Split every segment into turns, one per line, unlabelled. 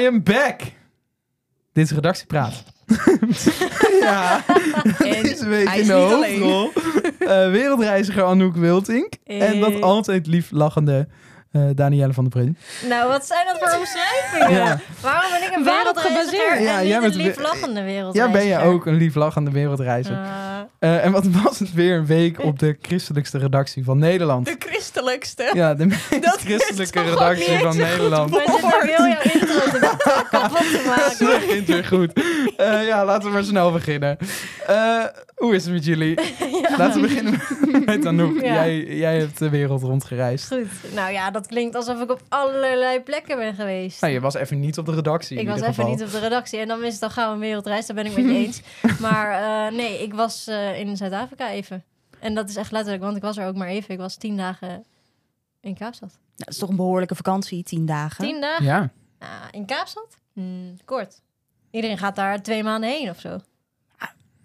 I am back. Dit is redactiepraat. ja,
En
deze week
hij is
in de
niet alleen.
hoofdrol. eh, wereldreiziger Anouk Wiltink. En dat
Eh.
altijd lief lachende eh Danielle van der Prins.
Nou, wat zijn dat voor omschrijvingen?
Ja.
Waarom ben ik een
Waarop
wereldreiziger
gebaseerd?
en
Ja,
niet
jij bent
een
weer-
lief lachende
Ja,
wereldreiziger?
ben je ook een lief lachende wereldreiziger.
Ah,
Eh, en wat was het weer een week op de christelijkste redactie van Nederland.
De christelijkste.
Ja, de meest
Dat is
christelijke
toch ook
redactie
niet
van
eens een goed
Nederland.
maar zit maar heel jouw intro te kapot te maken.
Dat begint weer goed. Eh, ja, laten we maar snel beginnen. Eh, hoe is het met jullie? Laten we beginnen met Anouk.
Ja.
Jij, jij hebt de wereld rondgereisd.
Goed. Nou ja, dat klinkt alsof ik op allerlei plekken ben geweest.
Nou, je was even niet op de redactie.
ik
in
was
ieder
even
geval.
niet op de redactie en dan is het dan gauw een wereldreis, daar ben ik met je eens. Maar eh, nee, ik was eh, in Zuid-Afrika even. En dat is echt letterlijk, want ik was er ook maar even. Ik was tien dagen in Kaapstad.
dat is toch een behoorlijke vakantie, tien dagen.
Tien dagen?
Ja.
Ah, in Kaapstad? Hmm, kort. Iedereen gaat daar twee maanden heen of zo.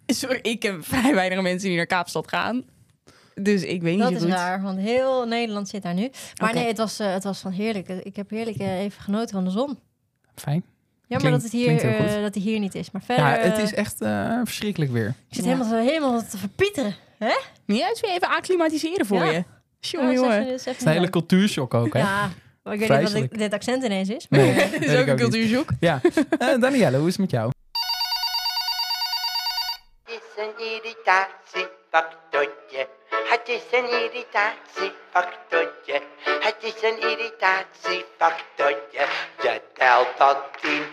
Sorry, ik ken vrij weinig mensen die naar Kaapstad gaan. Dus ik weet
Dat
niet
is
zo goed.
raar, want heel Nederland zit daar nu. Maar
Oké.
nee, het was, eh, het was van heerlijk. Ik heb heerlijk eh, even genoten van de zon.
Fijn.
Jammer
Klinkt-
dat, het hier,
klinkt heel goed.
eh, dat hij hier niet is. Maar verder,
Ja, het is
eh,
echt eh, verschrikkelijk weer.
ik zit
Ja.
helemaal, zo- helemaal te verpieteren.
Ja, het is weer even acclimatiseren voor
Ja.
je.
Maar
Jongen,
zeg
jongen.
je dus even
Het is een hele
niet
cultuurshock ook, hè?
Ja, maar ik weet niet wat
Vreselijk.
dit- dit accent ineens is.
Nee,
maar-
weet
Het is
ik
ook een
niet.
cultuurzoek.
Ja. Eh, Danielle, hoe is het met jou?
Het is een irritatiefactortje. Het is een irritatiefactortje. Het is een irritatiefactortje. Je telt tot tien.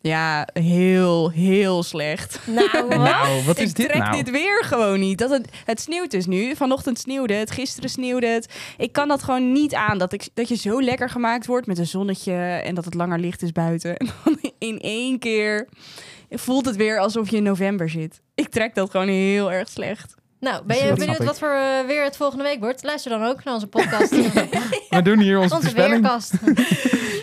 Ja, heel, heel slecht.
Nou, wat?
Nou, wat is
ik
dit
trek
nou?
dit weer gewoon niet. Dat het, het sneeuwt dus nu. Vanochtend sneeuwde het, gisteren sneeuwde het. Ik kan dat gewoon niet aan. Dat, ik, dat je zo lekker gemaakt wordt met een zonnetje en dat het langer licht is buiten. En dan in één keer voelt het weer alsof je in november zit. Ik trek dat gewoon heel erg slecht.
nou, ben
dus Dat
je
snap
benieuwd
ik.
wat voor eh, weer het volgende week wordt? Luister dan ook naar onze podcast. eh,
We doen hier onze,
onze
voorspelling.
weerkast.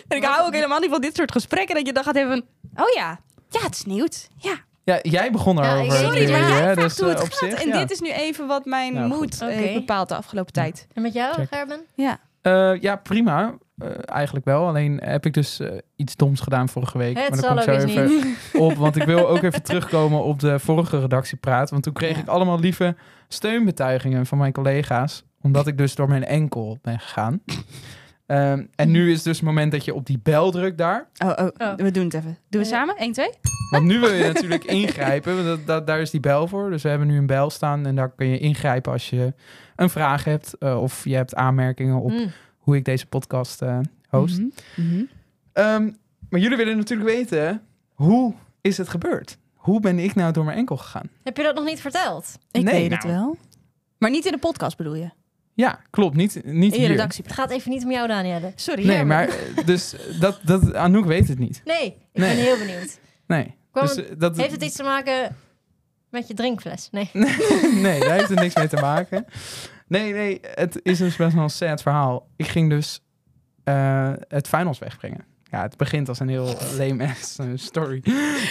En ik hou ook helemaal niet van dit soort gesprekken. Dat je dan gaat hebben van, oh ja, ja het sneeuwt. Ja,
Ja, jij begon
Ja,
erover.
ik- sorry,
natuurlijk,
maar
jij
hè,
vraagt
dus,
hoe
eh,
het
op
gaat.
zich,
en
ja.
dit is nu even wat mijn
Nou,
moed
goed.
eh,
Oké.
heeft bepaald de afgelopen tijd.
En met jou,
Check.
Gerben?
Ja.
Eh, ja, prima. Eh, eigenlijk wel. Alleen heb ik dus eh, iets doms gedaan vorige week.
Het
maar daar
zal
kom ik
ook
zo
eens
even op. Want ik wil ook even terugkomen op de vorige redactiepraat. Want toen kreeg
Ja.
ik allemaal lieve steunbetuigingen van mijn collega's. Omdat ik dus door mijn enkel ben gegaan. Ehm, en nu is dus het moment dat je op die bel drukt daar.
Oh, oh,
Oh.
we doen het even. Doen we
Ja.
samen? 1, 2?
Want nu wil je natuurlijk ingrijpen. Want dat, dat- daar is die bel voor. Dus we hebben nu een bel staan. En daar kun je ingrijpen als je een vraag hebt. eh, of je hebt aanmerkingen op
Mm.
hoe ik deze podcast eh, host.
Mhm,
Ehm, maar jullie willen natuurlijk weten, hoe is het gebeurd? Hoe ben ik nou door mijn enkel gegaan?
Heb je dat nog niet verteld?
Ik
Nee,
weet
nou.
het wel. Maar niet in de podcast bedoel je?
Ja, klopt. Niet, niet
In je
hier.
redactie.
Het gaat even niet om jou, Danielle.
Sorry.
Nee,
ja,
maar eh, dus dat, dat, Anouk weet het niet.
Nee, ik
Nee.
ben heel benieuwd.
Nee.
Kwam
Dus,
het-
eh, dat,
Heeft het iets te maken met je drinkfles? Nee.
nee, daar heeft het niks mee te maken. Nee, nee, het is dus best wel een sad verhaal. Ik ging dus eh, het finals wegbrengen. Ja, het begint als een heel lame ass eh, story.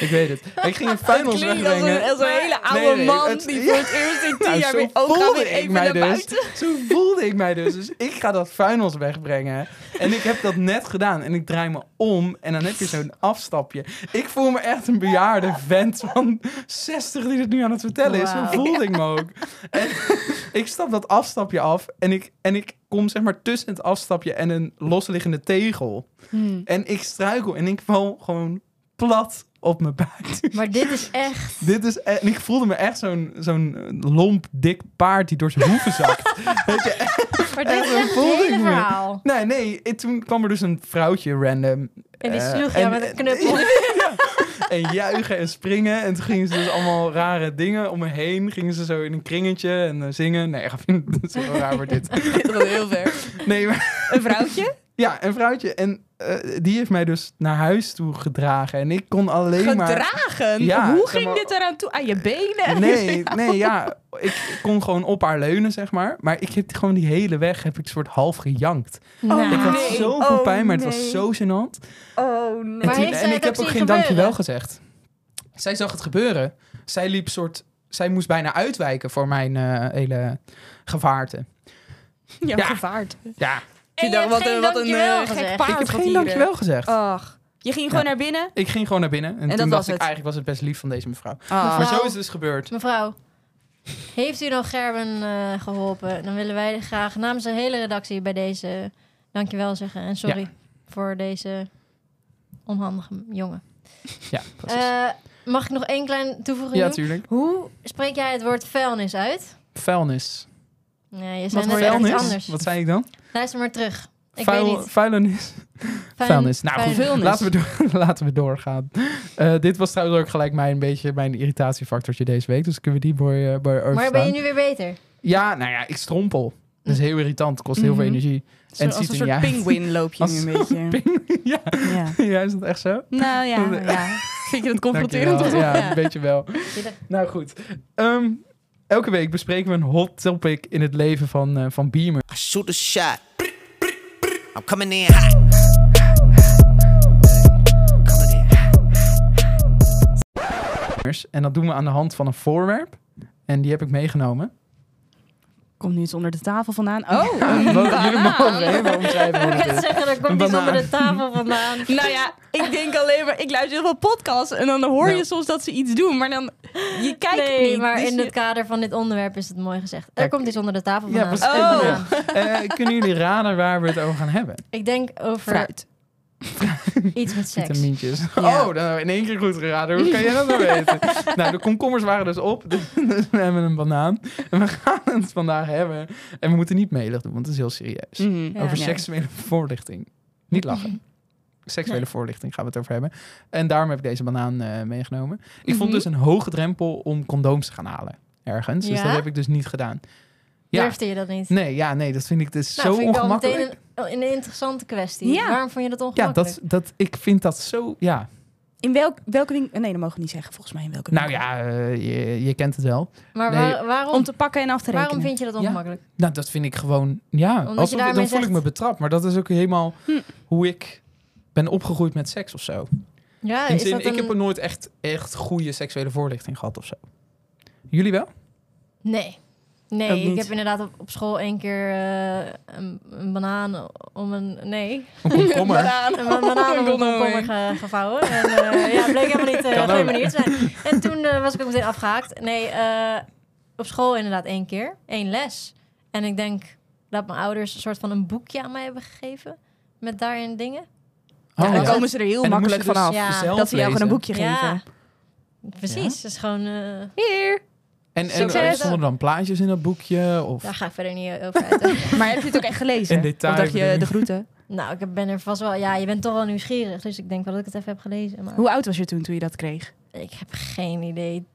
Ik weet het. Ik ging het
Het
finals
klinkt als
wegbrengen.
een, als een hele oude
Nee, nee,
man
het-
die
ja.
voor het eerst in tien
Nou,
jaar
zo
weer ook gaat
voelde
weer
ik
even
mij
naar
dus.
buiten.
Zo voelde ik mij dus. Dus ik ga dat finals wegbrengen. En ik heb dat net gedaan. En ik draai me om. En dan heb je zo'n afstapje. Ik voel me echt een bejaarde vent van 60 die het nu aan het vertellen is. Zo
Wauw.
voelde ik me ook. En ik stap dat afstapje af. En ik, en ik kom zeg maar tussen het afstapje en een losliggende tegel.
Hmm.
En ik struikel. En ik val gewoon plat op mijn buik.
Maar dit is echt...
Dit is, eh, en ik voelde me echt zo'n zo'n eh, lomp, dik paard die door zijn hoeven zakt. Weet je,
Maar dit is
Echt,
echt het
voelde ik
hele
me.
verhaal.
Nee, nee, ik- toen kwam er dus een vrouwtje random.
En die
eh,
sloeg jou met een knuppel.
Ja. en juichen en springen. En toen gingen ze dus allemaal rare dingen om me heen. Gingen ze zo in een kringetje en eh, zingen. Nee, grapje, dat is wel raar wordt dit.
Dat was heel ver.
Nee, maar,
Een vrouwtje?
ja, een vrouwtje. En eh, die heeft mij dus naar huis toe gedragen. En ik kon alleen maar...
Gedragen?
Ja,
Hoe
zeg
ging
maar-
dit eraan toe? Aan je benen?
Nee, nee, ja. Ik kon gewoon op haar leunen, zeg maar. Maar ik heb gewoon die hele weg, heb ik soort half gejankt.
Nou.
Ik had
Nee.
zoveel
Oh,
pijn, maar het
nee.
was zo gênant.
Oh, nee.
Maar
Toen-
heeft zij
en ik
het ook
heb ook
zien
geen
gebeuren?
dankjewel gezegd. Zij zag het gebeuren. Zij liep soort... Zij moest bijna uitwijken voor mijn eh, hele gevaarte.
Ja,
Ja.
gevaard.
Ja,
En je
dacht,
hebt
wat
geen
een- wat een, eh,
dankjewel
gek
gezegd.
paard
Ik heb
Wat
geen
hier,
dankjewel gezegd.
eh. Ach, je ging gewoon naar binnen?
Ik ging gewoon naar binnen. En,
dat
toen
was
dacht ik,
het.
eigenlijk was het best lief van deze mevrouw.
Ah.
Maar
Nou.
zo is het dus gebeurd.
Mevrouw, heeft u nou Gerben eh, geholpen? Dan willen wij graag namens de hele redactie bij deze dankjewel zeggen. En sorry voor deze onhandige jongen.
Ja, precies.
Eh, mag ik nog één klein toevoeging
ja,
doen?
tuurlijk.
Hoe spreek jij het woord vuilnis uit?
Vuilnis.
Nee, je
Wat
zei
voor
net echt iets
vuilnis?
anders.
Wat zei ik dan?
Luister maar terug. Ik weet
Vuil,
niet.
vuilnis.
Vuil-
vuilnis. Nou,
vuil-
goed, Laten we, door, laten we doorgaan. Eh, dit was trouwens ook gelijk mijn, beetje, mijn irritatiefactortje deze week. Dus kunnen we die boy, eh boy
Maar
overslaan.
ben je nu Mm. Mm-hmm. weer beter?
Ja, nou ja, ik strompel. Dat is heel irritant. Kost heel
Mhm.
veel energie.
Zo-
het
als
ziet
een
er
soort
niet uit.
pinguïn loop je
Als
nu een
een
beetje.
ja.
Ja.
ja, is dat echt zo?
Nou ja,
Nee.
ja. Vind je dat confronterend?
Dankjewel.
of wat?
Ja, een beetje wel. Nou goed. Ehm, elke week bespreken we een hot topic in het leven van, eh, van Beamer.
I shoot a shot. I'm coming in hot. Coming in hot.
En dat doen we aan de hand van een voorwerp. En die heb ik meegenomen.
Komt nu iets onder de tafel vandaan? Oh, een
Jullie mogen
banaan.
helemaal omschrijven hoe
Ik
het
kan
is.
zeggen, er
Een
komt iets onder
banaan.
de tafel vandaan.
Nou ja, ik denk alleen maar... Ik luister heel veel podcasts en dan hoor je
Nou.
soms dat ze iets doen. Maar dan... Je kijkt
nee,
niet.
maar
dus
in
je-
het kader van dit onderwerp is het mooi gezegd. Er
Kijk.
komt iets onder de tafel
Ja,
vandaan.
precies.
Oh.
Banaan.
Eh, kunnen jullie raden waar we het over gaan hebben?
Ik denk over
Fruit.
iets met seks.
Vitamintjes.
Ja.
Oh, dan hebben we in één keer goed geraden. Hoe kan jij dat nou weten? nou, de komkommers waren dus op. Dus we hebben een banaan. En we gaan het vandaag hebben. En we moeten niet melig doen, want het is heel serieus.
Mhm.
Mm, Ja.
over
Ja.
seksuele voorlichting. Niet lachen. Seksuele voorlichting gaan we het over hebben. En daarom heb ik deze banaan eh, meegenomen. Ik vond
Mhm.
dus een hoge drempel om condooms te gaan halen. Ergens. Dus
Ja?
dat heb ik dus niet gedaan. Ja.
Durfde je dat niet?
Nee, ja, nee, dat vind ik dus
Nou,
zo
vind ik al
ongemakkelijk.
meteen een, een interessante kwestie.
Ja.
Waarom vond je dat
Ja,
ongemakkelijk?
dat, dat, ik vind dat zo. Ja,
In welk, welke winkel? Nee, dat mogen we niet zeggen. Volgens mij in welke
nou
winkel.
ja, eh, je, je kent het wel.
Maar
Nee.
waar- waarom,
Om te pakken en af te rekenen.
waarom vind je dat
Ja.
ongemakkelijk?
Nou, dat vind ik gewoon. Ja,
Omdat je
alsof, dan
daarmee
voel ik
zegt-
me betrapt. Maar dat is ook helemaal
Hm.
hoe ik ben opgegroeid met seks of zo.
Ja,
In
is
zin,
dat
ik heb er
een...
nooit echt, echt goede seksuele voorlichting gehad of zo. Jullie wel?
Nee.
Ook
Nee,
niet.
ik heb inderdaad op, op school één keer eh, een, een banaan om een... Nee,
Een komkommer. Oh,
een ba- banaan om een
condoom
komkommer
heen.
ge- gevouwen. En eh ja, bleek helemaal niet eh
Kan
geen
ook.
manier te zijn. En toen eh, was ik ook meteen afgehaakt. Nee, eh, op school inderdaad één keer. één les. En ik denk dat mijn ouders een soort van een boekje aan mij hebben gegeven. Met daarin dingen.
Ja,
Oh,
dan
ja.
komen ze er heel
En dan
makkelijk
moest je dus
vanaf.
Ja.
zelf
Dat ze jou gewoon
lezen.
een boekje
Ja.
geven.
Precies, dat is gewoon... eh,
Hier.
En, en
Succes.
er stonden dan plaatjes in dat boekje? Of...
daar ga ik verder niet eh, over uit.
Maar heb je het ook echt gelezen?
In detail
Of dacht je
bedoel je?
de groeten?
nou, ik ben er vast wel... Ja, je bent toch wel nieuwsgierig. Dus ik denk wel dat ik het even heb gelezen. Maar
Hoe oud was je toen toen je dat kreeg?
ik heb geen idee.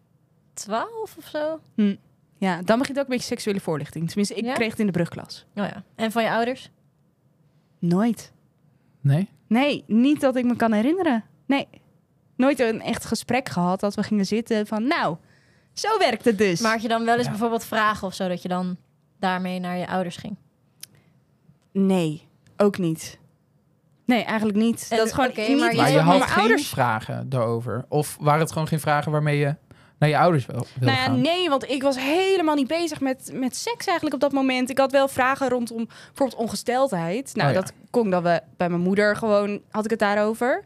12 of zo? Oh
Ja, dan begint ook een beetje seksuele voorlichting. Tenminste, ik
Ja?
kreeg het in de brugklas.
Nou ja. En van je ouders?
Nooit.
Nee?
Nee, niet dat ik me kan herinneren. Nee. Nooit een echt gesprek gehad dat we gingen zitten van... Nou, zo werkt het dus.
Maak je dan wel eens
Ja.
bijvoorbeeld vragen of zo... dat je dan daarmee naar je ouders ging?
Nee, ook niet. Nee, eigenlijk niet.
En-
dat is gewoon
oké,
niet
maar
iets
Maar
jij
je
wat
had
mijn
geen
ouders
vragen daarover? Of waren het gewoon geen vragen waarmee je naar je ouders wil, wil
Nou ja,
gaan?
nee, want ik was helemaal niet bezig met, met seks eigenlijk op dat moment. Ik had wel vragen rondom bijvoorbeeld ongesteldheid. Nou,
Oh ja.
dat kon dan we, bij mijn moeder gewoon, had ik het daarover.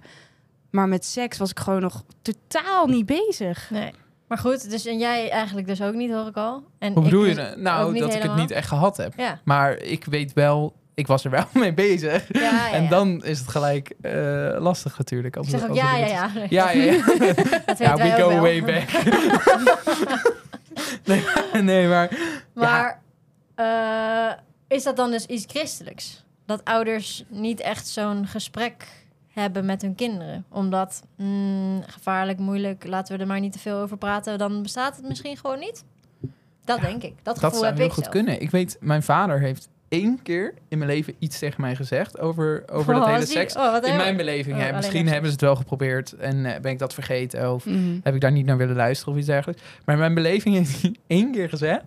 Maar met seks was ik gewoon nog totaal niet bezig.
Nee. Maar goed, dus en jij eigenlijk dus ook niet, hoor ik al. En
Hoe
ik
bedoel je?
dus
dat? Nou,
ook
dat
niet
ik het
helemaal.
niet echt gehad heb.
Ja.
Maar ik weet wel, ik was er wel mee bezig.
Ja, Ah, ja, ja.
En dan is het gelijk eh, lastig natuurlijk. Als
Ik zeg
het-
ook
als
ja, ja,
het-
ja. Nee,
Ja, ja, ja.
Dat
Ja,
weten wij
we go
ook wel.
way back. nee, nee, maar
Maar eh, is dat dan dus iets christelijks? Dat ouders niet echt zo'n gesprek hebben met hun kinderen. Omdat, mm, gevaarlijk, moeilijk, laten we er maar niet te veel over praten. Dan bestaat het misschien gewoon niet. Dat denk ik. Dat gevoel
dat zou
heb
heel
ik
goed
zelf.
kunnen. Ik weet, mijn vader heeft één keer in mijn leven iets tegen mij gezegd over, over
Oh,
dat hele
zie je-
seks.
oh, wat
In
erg.
mijn beleving.
Oh,
hè.
alleen
Misschien
maar
hebben ze het wel geprobeerd en eh, ben ik dat vergeten of
Mhm.
heb ik daar niet naar willen luisteren of iets dergelijks. Maar in mijn beleving heeft hij één keer gezegd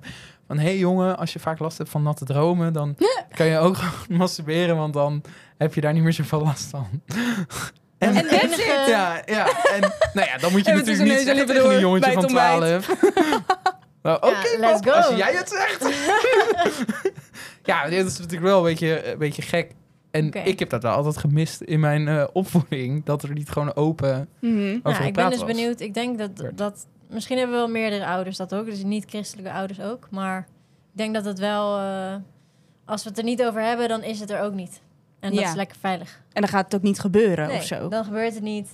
van hé hey jongen, als je vaak last hebt van natte dromen, dan kan je ook gewoon masturberen, want dan heb je daar niet meer zoveel last van. En,
En that's it.
Ja, ja. En, nou ja, dan moet je
En we tussen
natuurlijk
neus
niet
en
zeggen
lippen
tegen een
door,
jongetje van
bijt ontbijt.
12. Nou, Oké,
Ja, let's
pap, als
go.
jij het zegt. ja, dit is natuurlijk wel een beetje, een beetje gek. En
Oké.
ik heb dat wel altijd gemist in mijn eh, opvoeding. Dat er niet gewoon open
Mhm.
over
Nou, ik ben
gepraat
dus
was.
benieuwd. Ik denk dat,
Werd.
dat... Misschien hebben wel meerdere ouders dat ook. Dus niet-christelijke ouders ook. Maar ik denk dat het wel... eh, als we het er niet over hebben, dan is het er ook niet. En dat
Ja.
is lekker veilig.
En dan gaat het ook niet gebeuren
Nee,
of zo.
dan gebeurt het niet.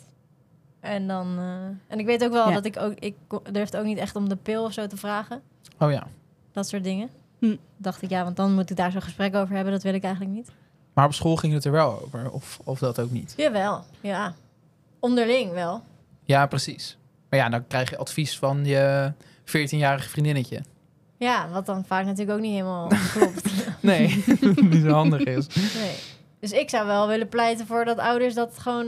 En dan... eh, en ik weet ook wel
Ja.
dat ik ook... Ik ko- durfde ook niet echt om de pil of zo te vragen.
Oh ja.
Dat soort dingen.
Hm.
Dacht ik, ja, want dan moet ik daar zo'n gesprek over hebben. Dat wil ik eigenlijk niet.
Maar op school ging het er wel over. Of, of dat ook niet.
Jawel, ja. Onderling wel.
Ja, precies. Maar ja, dan krijg je advies van je 14-jarige vriendinnetje.
Ja, wat dan vaak natuurlijk ook niet helemaal klopt.
Nee, niet zo handig is.
Nee. Dus ik zou wel willen pleiten voor dat ouders dat, gewoon,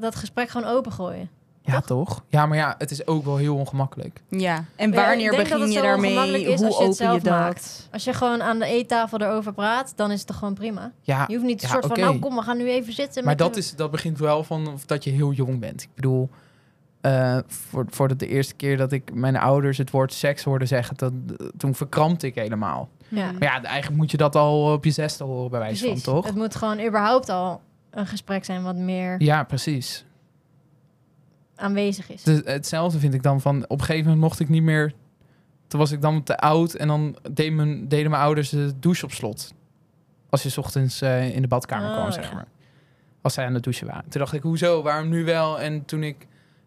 dat gesprek gewoon opengooien.
Ja, toch? Ja, maar ja, het is ook wel heel ongemakkelijk.
Ja. En
Maar ja,
wanneer
ik denk dat
begin
het
je
zo ongemakkelijk
daarmee?
is
Hoe
als je het
open je
zelf
dat?
maakt. Als je gewoon aan de eettafel erover praat, dan is het toch gewoon prima.
Ja,
Je hoeft niet een
Ah, ja,
soort van,
oké.
nou kom, we gaan nu even zitten.
maar
met
dat,
de-
is, dat begint wel van of dat je heel jong bent. Ik bedoel, eh, voor, voordat de eerste keer dat ik mijn ouders het woord seks hoorde zeggen, dat, toen verkrampte ik helemaal.
Ja,
Maar ja, eigenlijk moet je dat al op je zesde horen, bij wijze
precies.
van, toch?
Het moet gewoon überhaupt al een gesprek zijn wat meer
Ja, precies.
aanwezig is.
Het- Dus hetzelfde vind ik dan van, op een gegeven moment mocht ik niet meer... Toen was ik dan te oud en dan deed mijn, deden mijn ouders de douche op slot. Als je 's ochtends eh, in de badkamer
Oh,
kwam, zeg
ja.
maar. Als zij aan het douchen waren. Toen dacht ik, hoezo, waarom nu wel? En toen ik...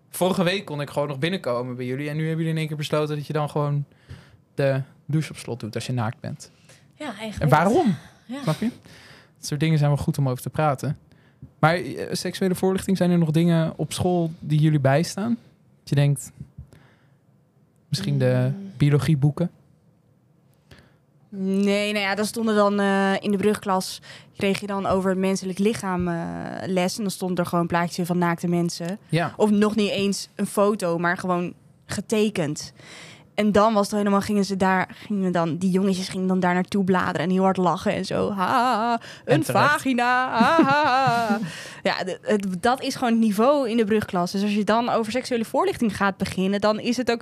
Vorige week kon ik gewoon nog binnenkomen bij jullie. En nu hebben jullie in één keer besloten dat je dan gewoon de douche op slot doet als je naakt bent.
Ja, eigenlijk.
En waarom?
Ja.
Snap je? Dat soort dingen zijn wel goed om over te praten. Maar eh, seksuele voorlichting, zijn er nog dingen op school die jullie bijstaan? Dat je denkt, misschien de
Mm.
biologieboeken?
Nee, nou ja, dat stonden dan eh, in de brugklas. Kreeg je dan over het menselijk lichaam eh, les. En dan stond er gewoon plaatjes in van naakte mensen.
Ja.
Of nog niet eens een foto, maar gewoon getekend. En dan was het helemaal, gingen ze daar, gingen dan, die jongetjes gingen dan daar naartoe bladeren en heel hard lachen en zo. Ha,
En
een
terecht.
vagina. ha, ha, ha. ja, d- het- dat is gewoon het niveau in de brugklas. Dus als je dan over seksuele voorlichting gaat beginnen, dan is het ook,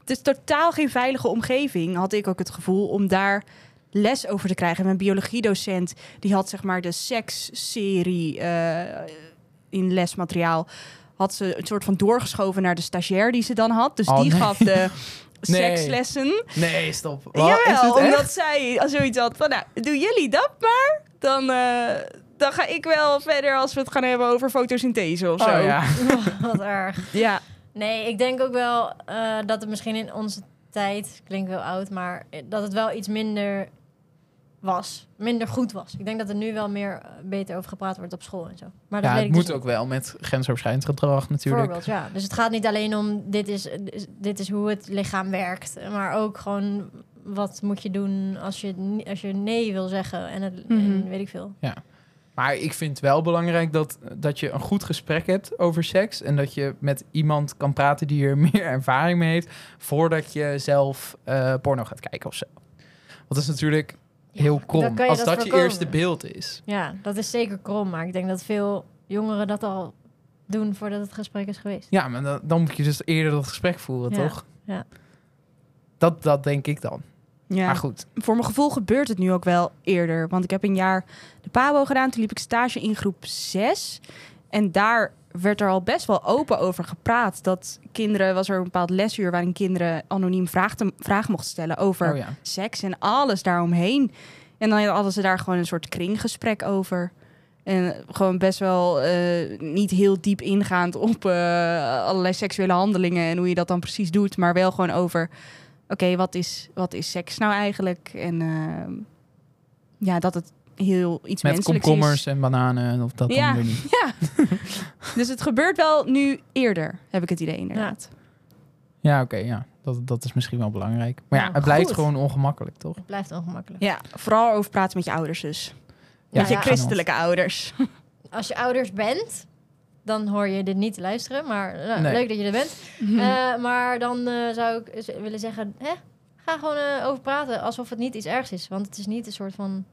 het is totaal geen veilige omgeving, had ik ook het gevoel, om daar les over te krijgen. Mijn biologiedocent, die had zeg maar de seksserie eh in lesmateriaal, had ze een soort van doorgeschoven naar de stagiair die ze dan had. Dus
Oh,
die
nee.
gaf de
Nee.
sekslessen.
Nee, stop. Wat? Is
Jawel,
dit echt?
omdat zij als zoiets had van, nou, doen jullie dat maar, dan, eh, dan ga ik wel verder als we het gaan hebben over fotosynthese of zo.
Oh, ja.
Wat erg.
ja.
Nee, ik denk ook wel eh, dat het misschien in onze tijd, klinkt wel oud, maar eh, dat het wel iets minder was. Minder goed was. Ik denk dat er nu wel meer eh, beter over gepraat wordt op school en zo. Maar dat
ja,
weet
het
ik
moet
dus
ook wel met grensoverschrijdend gedrag natuurlijk.
Voorbeeld, ja. Dus het gaat niet alleen om dit is, dit is hoe het lichaam werkt, maar ook gewoon wat moet je doen als je, ni- als je nee wil zeggen en, het, en
Mhm.
weet ik veel.
Maar ik vind wel belangrijk dat, dat je een goed gesprek hebt over seks. En dat je met iemand kan praten die er meer ervaring mee heeft. Voordat je zelf eh, porno gaat kijken of zo. Want dat is natuurlijk
Ja,
heel
dan
krom.
kan je
als
dat
dat, je
voorkomen.
eerste beeld is.
Ja, dat is zeker krom, maar ik denk dat veel jongeren dat al doen voordat het gesprek is geweest.
Ja, maar dan, dan moet je dus eerder dat gesprek voeren,
Ja,
toch?
ja.
Dat, dat denk ik dan.
Ja.
Maar goed.
voor mijn gevoel gebeurt het nu ook wel eerder. Want ik heb een jaar de PABO gedaan. Toen liep ik stage in groep 6. En daar werd er al best wel open over gepraat. Dat kinderen, was er een bepaald lesuur waarin kinderen anoniem vraag, te- vragen mochten stellen over
Oh ja.
seks en alles daaromheen. En dan hadden ze daar gewoon een soort kringgesprek over. En gewoon best wel eh, niet heel diep ingaand op eh, allerlei seksuele handelingen en hoe je dat dan precies doet. Maar wel gewoon over, oké, wat, is, wat is seks nou eigenlijk? En ehm, ja, dat het heel iets
Met
menselijks
komkommers
is.
en bananen of dat
Ja.
dan weer niet.
Ja, dus het gebeurt wel nu eerder, heb ik het idee inderdaad.
Ja, oké, ja. Dat, dat is misschien wel belangrijk. Maar ja,
Nou,
het blijft
goed.
gewoon ongemakkelijk, toch?
Het blijft ongemakkelijk.
Ja, vooral over praten met je ouders dus.
Ja,
met je
ja.
christelijke ouders.
als je ouders bent, dan hoor je dit niet te luisteren. Maar nou,
Nee.
leuk dat je er bent.
Mhm.
Eh, maar dan eh, zou ik eens willen zeggen, hè, ga gewoon eh, over praten alsof het niet iets ergs is. Want het is niet een soort van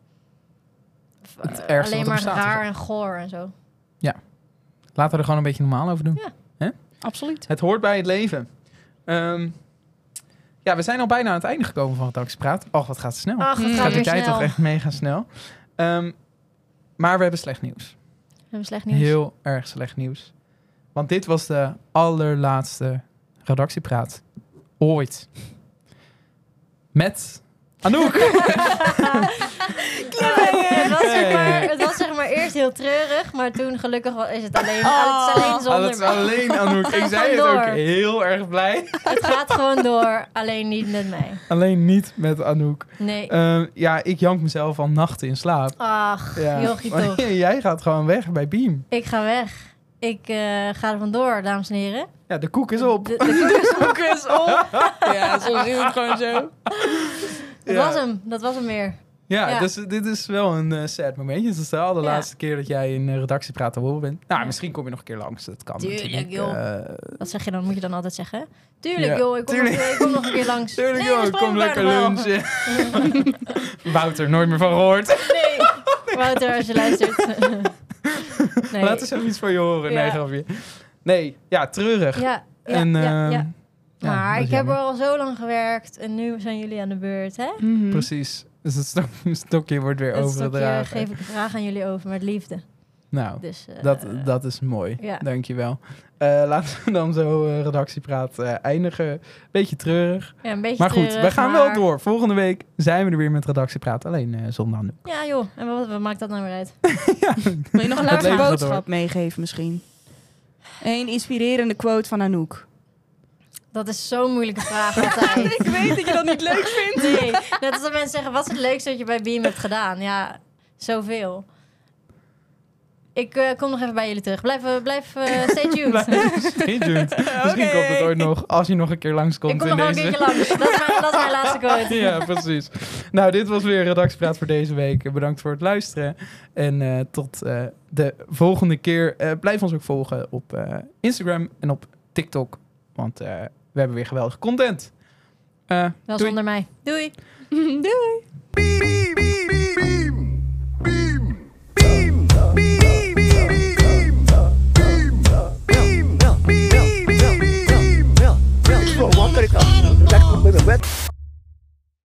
v-
Het ergste
eh,
wat
alleen
er
maar
bestaat,
raar en goor en zo.
Laten we er gewoon een beetje normaal over doen.
Ja.
Absoluut.
Het hoort bij het leven. Ehm, ja, we zijn al bijna aan het einde gekomen van het Dagspraat. Och, wat gaat het snel.
Ach, het
Mm.
Oh, Ah, gaat
gaat de
weer
tijd
snel.
toch echt mega snel. Ehm, Maar we hebben slecht nieuws.
We hebben slecht nieuws.
Heel erg slecht nieuws. Want dit was de allerlaatste redactiepraat ooit. Met Anouk.
het, was zeg maar,
Hey.
het was zeg maar eerst heel treurig, maar toen gelukkig wa- is het alleen,
Oh.
het is alleen
Ah,
zonder
dat is
mij.
alleen Anouk. Ik zei het
Gewoon
ook
door.
heel erg blij.
Het gaat gewoon door, alleen niet met mij.
Alleen niet met Anouk.
Nee.
Eh, ja, ik jank mezelf al nachten in slaap.
Ach,
Ja.
jochie toch.
Jij gaat gewoon weg bij Beam.
Ik ga weg. Ik eh, ga er vandoor, dames en heren.
Ja, de koek is op.
De- de-
Focus op. Ja, soms doen we het gewoon zo.
dat
Ja.
was hem, dat was hem weer.
Ja,
Ja.
dus dit is wel een eh, sad momentje. Het is de allerlaatste keer dat jij in eh, redactie praat te horen bent. Nou,
Ja.
misschien kom je nog een keer langs. Dat kan
Tuurlijk,
natuurlijk.
joh.
eh,
Wat zeg je dan? Moet je dan altijd zeggen? Tuurlijk
Ja,
joh, ik kom,
tuurlijk.
Nog, ik kom nog een keer langs.
tuurlijk,
Nee,
joh. Ik
we spreken
Kom lekker
elkaar nog wel.
lunchen. Wouter, nooit meer van gehoord.
Nee, Wouter, als je luistert. nee.
Laat eens even iets van je horen. Nee,
Ja.
grapje. Nee, ja, treurig.
Ja, ja,
en,
ja,
eh,
ja.
ja,
Maar
dat is
ik heb
jammer.
er al zo lang gewerkt en nu zijn jullie aan de beurt, hè?
Mhm.
Precies. Dus het stok- stokje wordt weer
Dat stokje
overgedragen.
geef ik graag aan jullie over met liefde.
Nou,
Dus, eh,
Dat, dat is mooi.
ja.
Dankjewel. Eh laten we dan zo eh, redactiepraat eh, eindigen. Beetje treurig.
ja, een beetje
maar goed,
treurig,
we gaan wel
maar-
door. Volgende week zijn we er weer met redactiepraat. Alleen eh zondag nu.
Ja joh, en wat, wat maakt dat nou weer uit?
Wil je nog een
Het
laatste
leven gaat
boodschap meegeven misschien? Een inspirerende quote van Anouk.
Dat is zo'n moeilijke vraag altijd.
Ik weet dat je dat niet leuk vindt.
nee, net als dat mensen zeggen, wat is het leukste dat je bij Beam hebt gedaan? Ja, zoveel. Ik eh, kom nog even bij jullie terug. Blijf, eh, blijf eh, stay tuned.
Stay tuned. Misschien komt het ooit nog, als je nog een keer langskomt
Ik kom
in
nog wel een
deze...
keertje langs. Dat is mijn, dat is mijn laatste quote.
ja, precies. Nou, dit was weer Redactiepraat voor deze week. Bedankt voor het luisteren. En eh, tot eh, de volgende keer. Eh, blijf ons ook volgen op eh, Instagram en op TikTok. Want eh, we hebben weer geweldige content. Eh,
Wel
doei.
zonder mij. Doei.
Doei.
Beep, beep, beep.